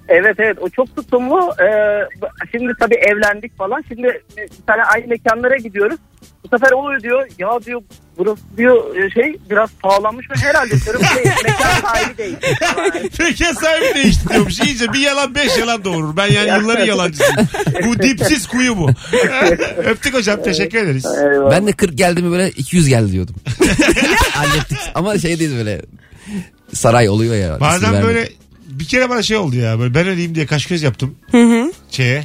Evet evet o çok tutumlu. Ee, şimdi tabii evlendik falan. Şimdi bir tane aynı mekanlara gidiyoruz. Bu sefer oluyor diyor. Ya diyor burası diyor e, şey biraz sağlanmış ve herhalde diyorum
*laughs*
şey, mekan sahibi değil.
Mekan sahibi değişti diyormuş. İyice bir yalan beş yalan doğurur. Ben yani yılların yalancısıyım. Bu dipsiz kuyu bu. *laughs* Öptük hocam teşekkür ederiz.
Eyvah.
Ben de 40 geldi mi böyle 200 geldi
*laughs*
diyordum. Hallettik. Ama şey değil böyle saray oluyor ya. isim
Bazen
vermedim.
böyle bir kere bana şey oldu ya. Böyle ben ödeyeyim diye kaş göz yaptım. Şeye.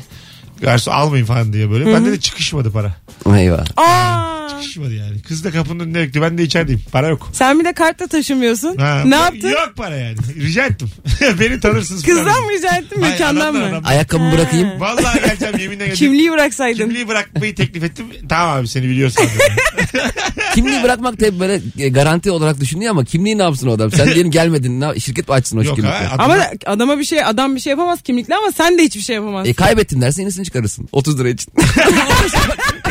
Garson almayın falan diye böyle. Bende de çıkışmadı para.
Eyvah.
Aa.
Çıkışmadı yani. Kız da kapının önünde bekliyor. Ben de içerideyim. Para yok.
Sen bir de kartla taşımıyorsun.
Ha,
ne yaptın?
Yok para yani. Rica ettim. *laughs* Beni tanırsınız.
Kızdan
falan.
mı rica ettin
Hayır,
mekandan
adamdan,
mı?
adamdan.
Ayakkabımı bırakayım.
Vallahi geleceğim yeminle geleceğim.
Kimliği bıraksaydın.
*laughs* Kimliği bırakmayı teklif ettim. Tamam abi seni biliyorsun.
*laughs*
Kimliği bırakmak da hep böyle e, garanti olarak düşünüyor ama kimliği ne yapsın o adam? Sen diyelim gelmedin. Ne, yap- şirket mi açsın o
Yok
kimlikle?
ha. adam- *laughs*
Ama adama bir şey adam bir şey yapamaz kimlikle ama sen de hiçbir şey yapamazsın.
E kaybettin dersin yenisini çıkarırsın. 30 lira için.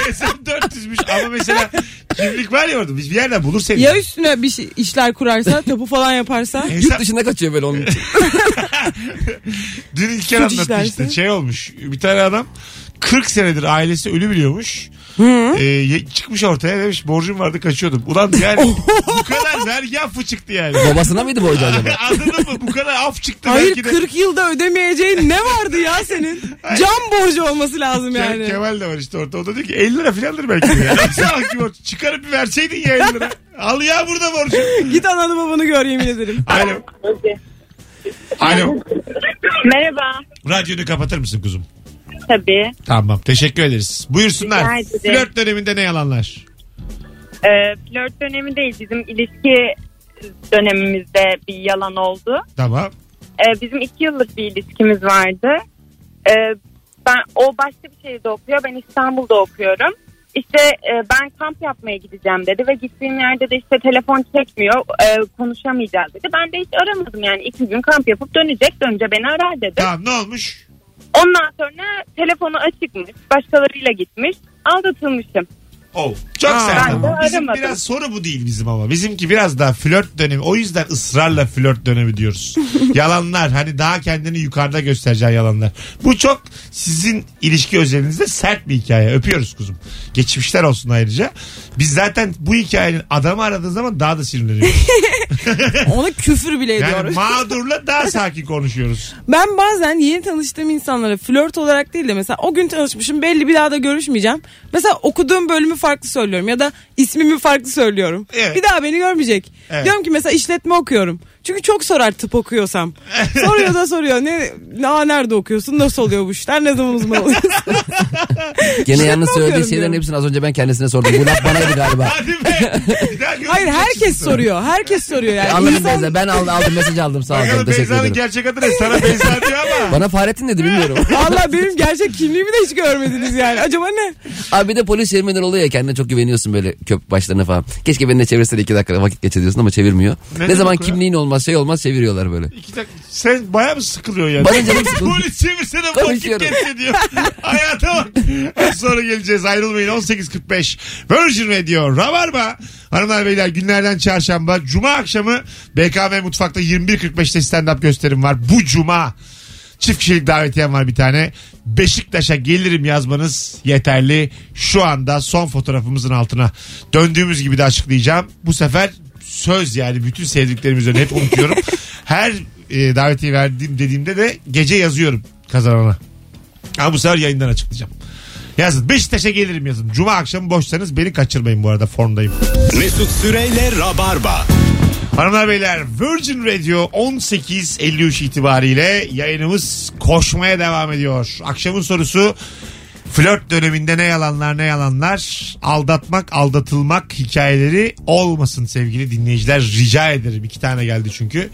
Hesap 400'müş ama mesela kimlik var ya orada. Biz bir yerden bulur seni.
Ya üstüne bir şey, işler kurarsa, tapu falan yaparsa.
Yurt
Hesap,
dışına kaçıyor böyle onun için.
dün İlker
Suç
anlattı
işlerse.
işte şey olmuş. Bir tane adam 40 senedir ailesi ölü biliyormuş. Ee, ye- çıkmış ortaya demiş borcum vardı kaçıyordum. Ulan yani bu kadar vergi affı çıktı yani.
Babasına mıydı borcu acaba?
*laughs* Anladın mı? Bu kadar af çıktı.
Hayır
belki de.
40 yılda ödemeyeceğin ne vardı ya senin? Can borcu olması lazım
Ke-
yani.
Kemal de var işte orada. O da diyor ki 50 lira filandır belki. de *laughs* Yani. Sabah gibi borç. Çıkarıp bir verseydin ya 50 lira. Al ya burada borcu. *laughs*
Git ananı babanı gör yemin ederim.
Alo. Alo.
Merhaba.
Radyonu kapatır mısın kuzum?
Tabii.
Tamam. Teşekkür ederiz.
Rica
Buyursunlar.
ederim.
Flört döneminde ne yalanlar?
Ee, flört dönemi değil bizim ilişki dönemimizde bir yalan oldu.
Tamam.
Ee, bizim iki yıllık bir ilişkimiz vardı. Ee, ben o başka bir şehirde okuyor, ben İstanbul'da okuyorum. İşte e, ben kamp yapmaya gideceğim dedi ve gittiğim yerde de işte telefon çekmiyor, e, konuşamayacağız dedi. Ben de hiç aramadım yani iki gün kamp yapıp dönecek, dönünce beni arar dedi.
Tamam ne olmuş?
Ondan sonra telefonu açıkmış, başkalarıyla gitmiş, aldatılmışım.
Oh. Çok
Aa,
sert
ben de
ama. Bizim
aramadım.
biraz soru bu değil bizim ama. Bizimki biraz daha flört dönemi. O yüzden ısrarla flört dönemi diyoruz. yalanlar. Hani daha kendini yukarıda göstereceğin yalanlar. Bu çok sizin ilişki özelinizde sert bir hikaye. Öpüyoruz kuzum. Geçmişler olsun ayrıca. Biz zaten bu hikayenin adamı aradığı zaman daha da sinirleniyoruz.
Ona küfür bile
Yani
ediyoruz.
mağdurla daha sakin konuşuyoruz.
Ben bazen yeni tanıştığım insanlara flört olarak değil de mesela o gün tanışmışım belli bir daha da görüşmeyeceğim. Mesela okuduğum bölümü farklı söylüyorum ya da ismimi farklı söylüyorum.
Evet.
Bir daha beni görmeyecek.
Evet.
Diyorum ki mesela işletme okuyorum. Çünkü çok sorar tıp okuyorsam.
*laughs*
Soruyor da soruyor. Ne, ne nerede okuyorsun? Nasıl oluyor bu işler? Ne zaman uzman oluyorsun?
*laughs* Gene yalnız
okuyorum
söylediği
diyorum.
şeylerin hepsini az önce ben kendisine sordum. Bu laf banaydı galiba.
*laughs* Hadi be. Bir daha görüşmeyeceksin
Hayır
*laughs*
herkes
sonra.
soruyor. Herkes soruyor yani.
Anladım
İnsan-
Beyza. Ben aldım, aldım mesaj aldım sağ olun.
Bakalım
Teşekkür
Beyza'nın
ederim.
gerçek adı ne? Sana Beyza diyor ama.
Bana Fahrettin dedi bilmiyorum.
*laughs*
Valla benim gerçek kimliğimi de hiç görmediniz yani. Acaba ne?
Abi bir de polis çevirmeler oluyor ya kendine çok güveniyorsun böyle köp başlarına falan. Keşke beni de çevirse de iki dakika vakit geçiriyorsun ama çevirmiyor.
Ne
Ne, zaman
demek o ya?
kimliğin olmaz şey olmaz çeviriyorlar böyle.
İki dakika. Sen baya mı sıkılıyor yani?
Bana canım sıkıldı.
Polis çevirsene vakit
Konuşuyorum.
geçti diyor. *laughs* Hayata bak. Az sonra geleceğiz ayrılmayın 18.45. Virgin Radio Rabarba. Hanımlar beyler günlerden çarşamba. Cuma akşamı BKM Mutfak'ta 21.45'te stand-up gösterim var. Bu cuma. Çift kişilik davetiyem var bir tane. Beşiktaş'a gelirim yazmanız yeterli. Şu anda son fotoğrafımızın altına. Döndüğümüz gibi de açıklayacağım. Bu sefer söz yani bütün sevdiklerimiz önüne hep unutuyorum. Her e, davetiye verdiğim dediğimde de gece yazıyorum kazanana. Ama bu sefer yayından açıklayacağım. Yazın. Beşiktaş'a gelirim yazın. Cuma akşamı boşsanız beni kaçırmayın bu arada formdayım.
Mesut Süreyle Rabarba.
Hanımlar beyler Virgin Radio 18.53 itibariyle yayınımız koşmaya devam ediyor. Akşamın sorusu flört döneminde ne yalanlar ne yalanlar aldatmak aldatılmak hikayeleri olmasın sevgili dinleyiciler rica ederim. iki tane geldi çünkü.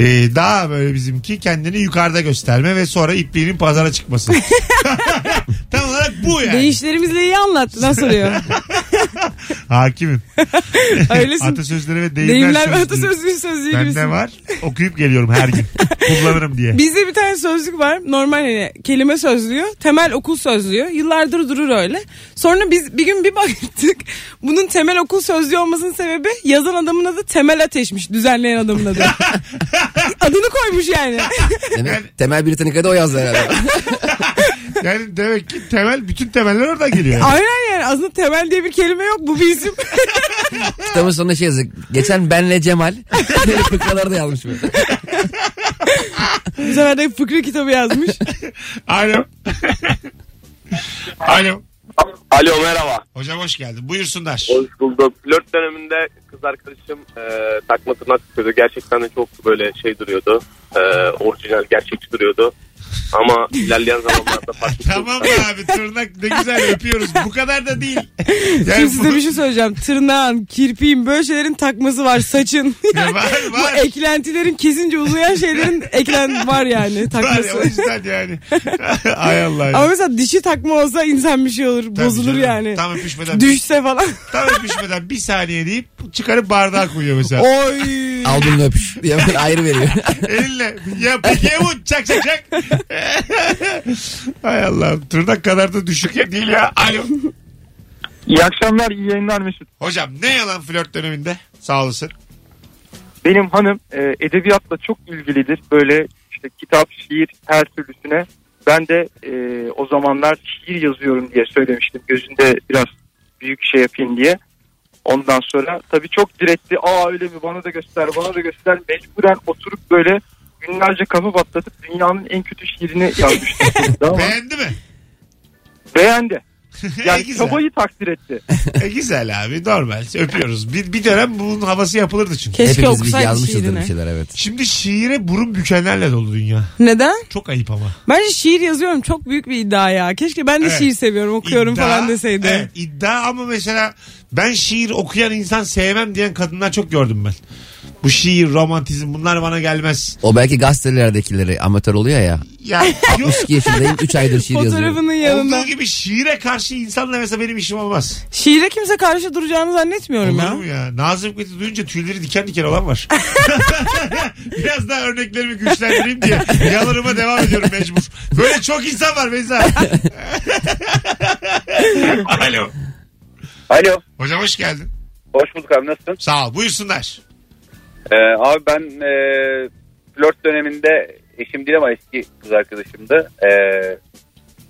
Ee, daha böyle bizimki kendini yukarıda gösterme ve sonra ipliğinin pazara çıkması. Tam olarak bu yani.
Değişlerimizle iyi anlattı. Nasıl
*laughs*
oluyor?
Hakimim.
Öylesin.
Atasözleri ve deyimler,
Deyimler ve
sözlüğü.
atasözlüğün sözlüğü gibisin.
Bende var. Okuyup geliyorum
*laughs*
her gün. Kullanırım diye.
Bizde bir tane sözlük var. Normal hani kelime sözlüğü, temel okul sözlüğü. Yıllardır durur öyle. Sonra biz bir gün bir baktık. Bunun temel okul sözlüğü olmasının sebebi yazan adamın adı Temel Ateş'miş. Düzenleyen adamın
*laughs*
adı. Adını koymuş yani.
Demek temel Britannica'da o yazdı
*laughs*
herhalde.
Yani demek ki temel bütün temeller oradan geliyor. Yani.
Aynen yani aslında temel diye bir kelime yok. Bu bir isim. *laughs*
Kitabın sonunda şey yazıyor. Geçen benle Cemal. *laughs* Fıkraları da yazmış böyle.
Bu sefer de fıkra kitabı yazmış.
*laughs*
Alo. Alo.
Alo merhaba.
Hocam hoş geldin. Buyursunlar.
Hoş bulduk. Flört döneminde kız arkadaşım e, takma tırnak tutuyordu. Gerçekten de çok böyle şey duruyordu. E, orijinal gerçekçi duruyordu. Ama ilerleyen
*laughs*
zamanlarda şey fark ettim.
Tamam abi tırnak ne güzel öpüyoruz. Bu kadar da değil.
Şimdi size
bu-
bir
*laughs*
şey söyleyeceğim. Tırnağın, kirpiğin, böyle şeylerin takması var.
*laughs*
Saçın.
Ya var
Bu
var.
eklentilerin kesince uzayan
*laughs*
şeylerin eklen var yani
Var ya, o
takması.
yüzden yani. *laughs* Ay Allah. ya.
Ama mesela dişi takma olsa insan bir şey olur.
Tabii
bozulur
canım.
yani.
Tam öpüşmeden.
Düşse falan.
Tam öpüşmeden bir saniye deyip çıkarıp bardağa koyuyor mesela.
Oy.
Al bunu öpüş. Diye böyle ayrı
*laughs*
veriyor.
Elinle. Ya peki bu çak çak çak. Hay Allah'ım. Tırnak kadar da düşük ya değil ya. Alo.
İyi akşamlar, iyi yayınlar Mesut.
Hocam ne yalan flört döneminde? Sağ olasın.
Benim hanım e, edebiyatla çok ilgilidir. Böyle işte kitap, şiir her türlüsüne. Ben de e, o zamanlar şiir yazıyorum diye söylemiştim. Gözünde biraz büyük şey yapayım diye. Ondan sonra tabii çok diretti. Aa öyle mi bana da göster bana da göster. Mecburen oturup böyle günlerce
*laughs*
kafa batlatıp dünyanın en kötü şiirini yazmıştım. Ama
Beğendi mi?
Beğendi.
E,
Yani
güzel.
çabayı takdir etti.
E, güzel abi normal öpüyoruz. Bir, bir dönem bunun havası yapılırdı çünkü.
Keşke
Hepimiz bir şey
okusaydı
yazmışızdır bir
şiirini.
şeyler evet.
Şimdi şiire burun bükenlerle dolu dünya.
Neden?
Çok ayıp ama.
Bence şiir yazıyorum çok büyük bir iddia ya. Keşke ben de
Evet.
şiir seviyorum okuyorum
İddia-
falan deseydi.
Evet, iddia ama mesela ben şiir okuyan insan sevmem diyen kadınlar çok gördüm ben. Bu şiir, romantizm bunlar bana gelmez.
O belki gazetelerdekileri amatör oluyor ya.
Ya yok.
2 yaşındayım 3 aydır şiir yazıyorum.
Fotoğrafının yanında.
Olduğu gibi şiire karşı insanla mesela benim işim olmaz.
Şiire kimse karşı duracağını zannetmiyorum
Olur
ya.
mu *laughs* ya? Nazım Hikmet'i duyunca tüyleri diken diken olan var. *laughs* Biraz daha örneklerimi güçlendireyim diye yalarıma devam ediyorum mecbur. Böyle çok insan var Beyza. *laughs* Alo.
Alo.
Hocam hoş geldin.
Hoş bulduk abi nasılsın?
Sağ ol. Buyursunlar.
Ee, abi ben e, flört döneminde eşim değil ama eski kız arkadaşımdı. Ee,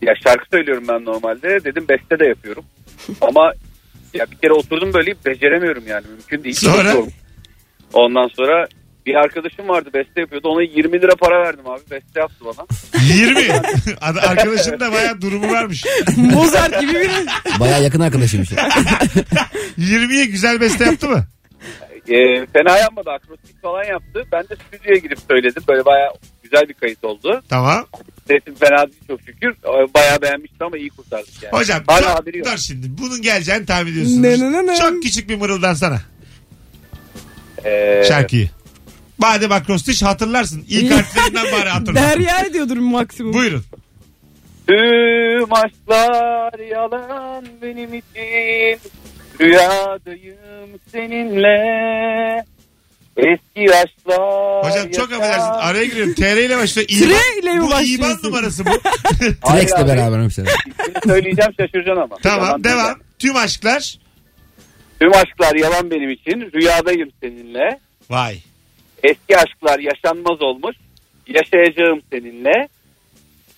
ya şarkı söylüyorum ben normalde. Dedim beste de
*laughs*
yapıyorum. ama ya bir kere oturdum böyle beceremiyorum yani mümkün değil.
Sonra?
Çok zor. Ondan sonra bir arkadaşım vardı beste yapıyordu. Ona 20 lira para verdim abi. Beste yaptı bana.
20. *laughs* Ad- Arkadaşın da bayağı durumu varmış.
Mozart gibi bir
Baya yakın arkadaşım.
*laughs*
20'ye güzel beste yaptı mı?
Ee, fena yapmadı. Akrostik falan yaptı. Ben de stüdyoya girip söyledim. Böyle bayağı güzel bir kayıt oldu.
Tamam.
Sesim fena değil çok şükür. Bayağı beğenmişti ama iyi kurtardık yani.
Hocam
Hala
çok-
haberi yok.
dur şimdi. Bunun geleceğini tahmin
Ne, ne, ne,
ediyorsunuz.
ne.
Çok küçük bir mırıldansana
Ee,
şarkıyı. Madem akrostiş hatırlarsın.
*laughs*
İlk harflerinden bari hatırla.
derya ediyordur maksimum.
Buyurun.
Tüm aşklar yalan benim için. Rüyadayım seninle. Eski aşklar
Hocam çok
yaşar.
affedersin. Araya giriyorum. TR ile başlıyor.
Tire ile mi
bu İban
başlıyorsun? *laughs*
numarası bu. *laughs*
Hayır
Trex'le
abi,
beraber olmuşlar.
şimdi söyleyeceğim şaşıracaksın ama.
tamam
Yalan
devam.
değil.
Tüm aşklar.
Tüm aşklar yalan benim için. Rüyadayım seninle.
Vay.
Eski aşklar yaşanmaz olmuş. Yaşayacağım seninle.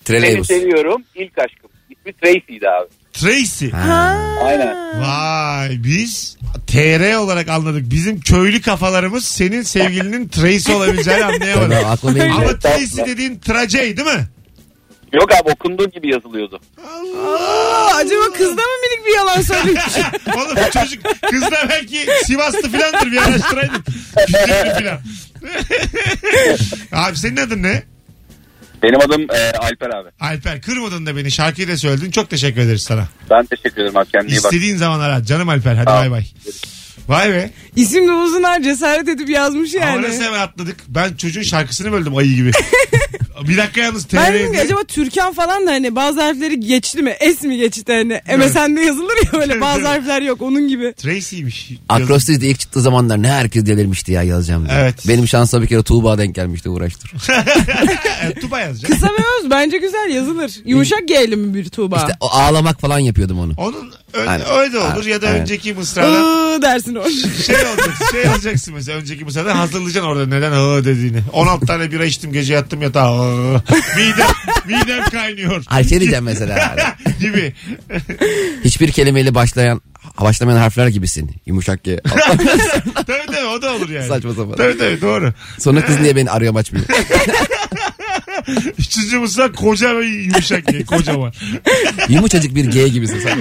Seni
Trelebus.
seviyorum. İlk aşkım. İsmi Tracy'ydi abi.
Tracy.
Ha.
Aynen.
Vay biz TR olarak anladık. Bizim köylü kafalarımız senin sevgilinin Tracy olabileceğini
Tabii
anlayamadı.
aklı
*laughs*
benim. de.
Ama Tracy dediğin Tracey değil mi?
Yok abi okunduğu gibi yazılıyordu.
Aa, acaba kızda mı minik bir yalan
*laughs*
söylemiş?
Oğlum bu çocuk kız da belki Sivaslı filandır bir araştıraydım. Küçüklü filan. *laughs* Abi senin adın ne?
Benim adım e, Alper abi.
Alper kırmadın da beni şarkıyı da söyledin. Çok teşekkür ederiz sana.
Ben teşekkür ederim abi kendine iyi bak.
İstediğin zaman ara. Canım Alper hadi
Tamam.
bay bay. Vay be.
İsim de uzun ha cesaret edip yazmış
Yani.
yani.
Ama hemen atladık. Ben çocuğun şarkısını böldüm
*laughs*
ayı gibi. bir dakika yalnız
Ben dedim ki
TR'ye.
acaba Türkan falan da hani bazı harfleri geçti mi? S mi geçti hani? MSN'de yazılır ya
Evet,
öyle bazı
evet.
harfler yok onun gibi.
Tracy'ymiş.
Akrostiş de ilk çıktığı zamanlar ne herkes delirmişti ya yazacağım diye.
Evet.
Benim şansa bir kere Tuğba denk gelmişti uğraştır.
E, Tuba yazacak.
Kısa ve öz bence güzel yazılır. Yumuşak G'li mi bir Tuğba?
İşte o ağlamak falan yapıyordum onu.
Onun ö-
Aynen.
öyle olur ya da
Aynen.
önceki mısradan
Iıı dersin
*laughs*
o.
şey olacaksın. Şey olacaksın mesela önceki mısradan hazırlayacaksın orada neden hı dediğini. 16 tane bira içtim gece yattım yatağa. hı. Midem, midem kaynıyor.
Ay şey diyeceğim mesela.
*laughs* gibi.
Hiçbir kelimeyle başlayan başlamayan harfler gibisin. Yumuşak G.
tabii tabii o da olur yani.
Saçma sapan.
Tabii tabii doğru.
Sonra kız niye beni arıyor açmıyor.
Üçüncü mısra koca ve yumuşak ye. Kocaman.
Yumuşacık bir G gibisin sen.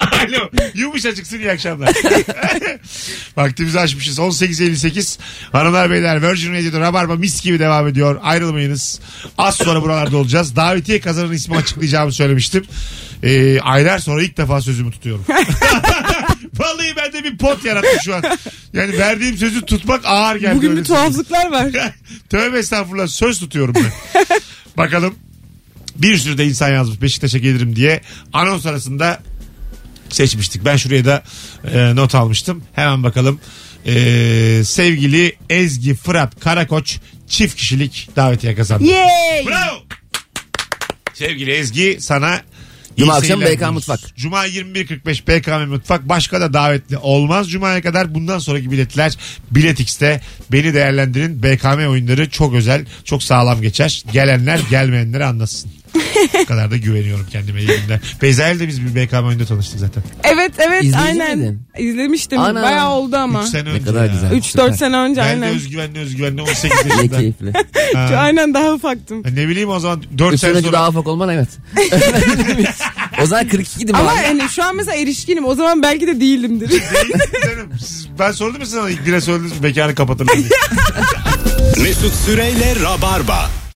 Alo. Yumuşacıksın
*laughs*
iyi akşamlar. Vaktimizi açmışız. 18.58 Hanımlar beyler Virgin Radio'da Rabarba mis gibi devam ediyor. Ayrılmayınız. Az sonra buralarda olacağız. Davetiye kazananın ismi açıklayacağımı söylemiştim. Ee, aylar sonra ilk defa
*laughs*
sözümü tutuyorum. Vallahi bende bir pot yarattı şu an. Yani verdiğim sözü tutmak ağır geldi.
Bugün
öyle
bir tuhaflıklar
*laughs*
var.
Tövbe estağfurullah söz tutuyorum ben. Bakalım bir sürü de insan yazmış Beşiktaş'a gelirim diye anons arasında seçmiştik. Ben şuraya da e, not almıştım. Hemen bakalım. E, sevgili Ezgi Fırat Karakoç çift kişilik davetiye kazandı.
Yay!
Bravo. Sevgili Ezgi sana iyi
Cuma akşam
seyirler
BK
diliyoruz.
Mutfak.
Cuma 21.45 BKM Mutfak. Başka da davetli olmaz. Cuma'ya kadar bundan sonraki biletler Bilet X'te.
*laughs*
Beni değerlendirin. BKM oyunları çok özel, çok sağlam geçer. Gelenler gelmeyenleri anlasın. Bu kadar da güveniyorum kendime yerimde. Beyza'yla de biz bir BKM oyunda tanıştık zaten.
Evet evet
İzleyici
aynen.
miydin?
İzlemiştim.
Ana.
Bayağı oldu ama.
3 sene önce
kadar
ya.
güzel.
3-4
Süper.
sene önce
Ben de
aynen.
özgüvenli özgüvenli 18
Ne
yaşında.
keyifli.
Ha.
Aynen daha ufaktım.
Ha, Ne bileyim o zaman 4 sene
Üstündeki
sonra.
daha ufak olman evet. *laughs* o zaman 42 idi mi
Ama
abi?
yani şu an mesela erişkinim. O zaman belki de değilimdir.
*laughs* Canım, siz- ben sordum mu sana ilk bire söylediniz mi? Mekanı kapatın. diye.
Mesut Süreyle Rabarba.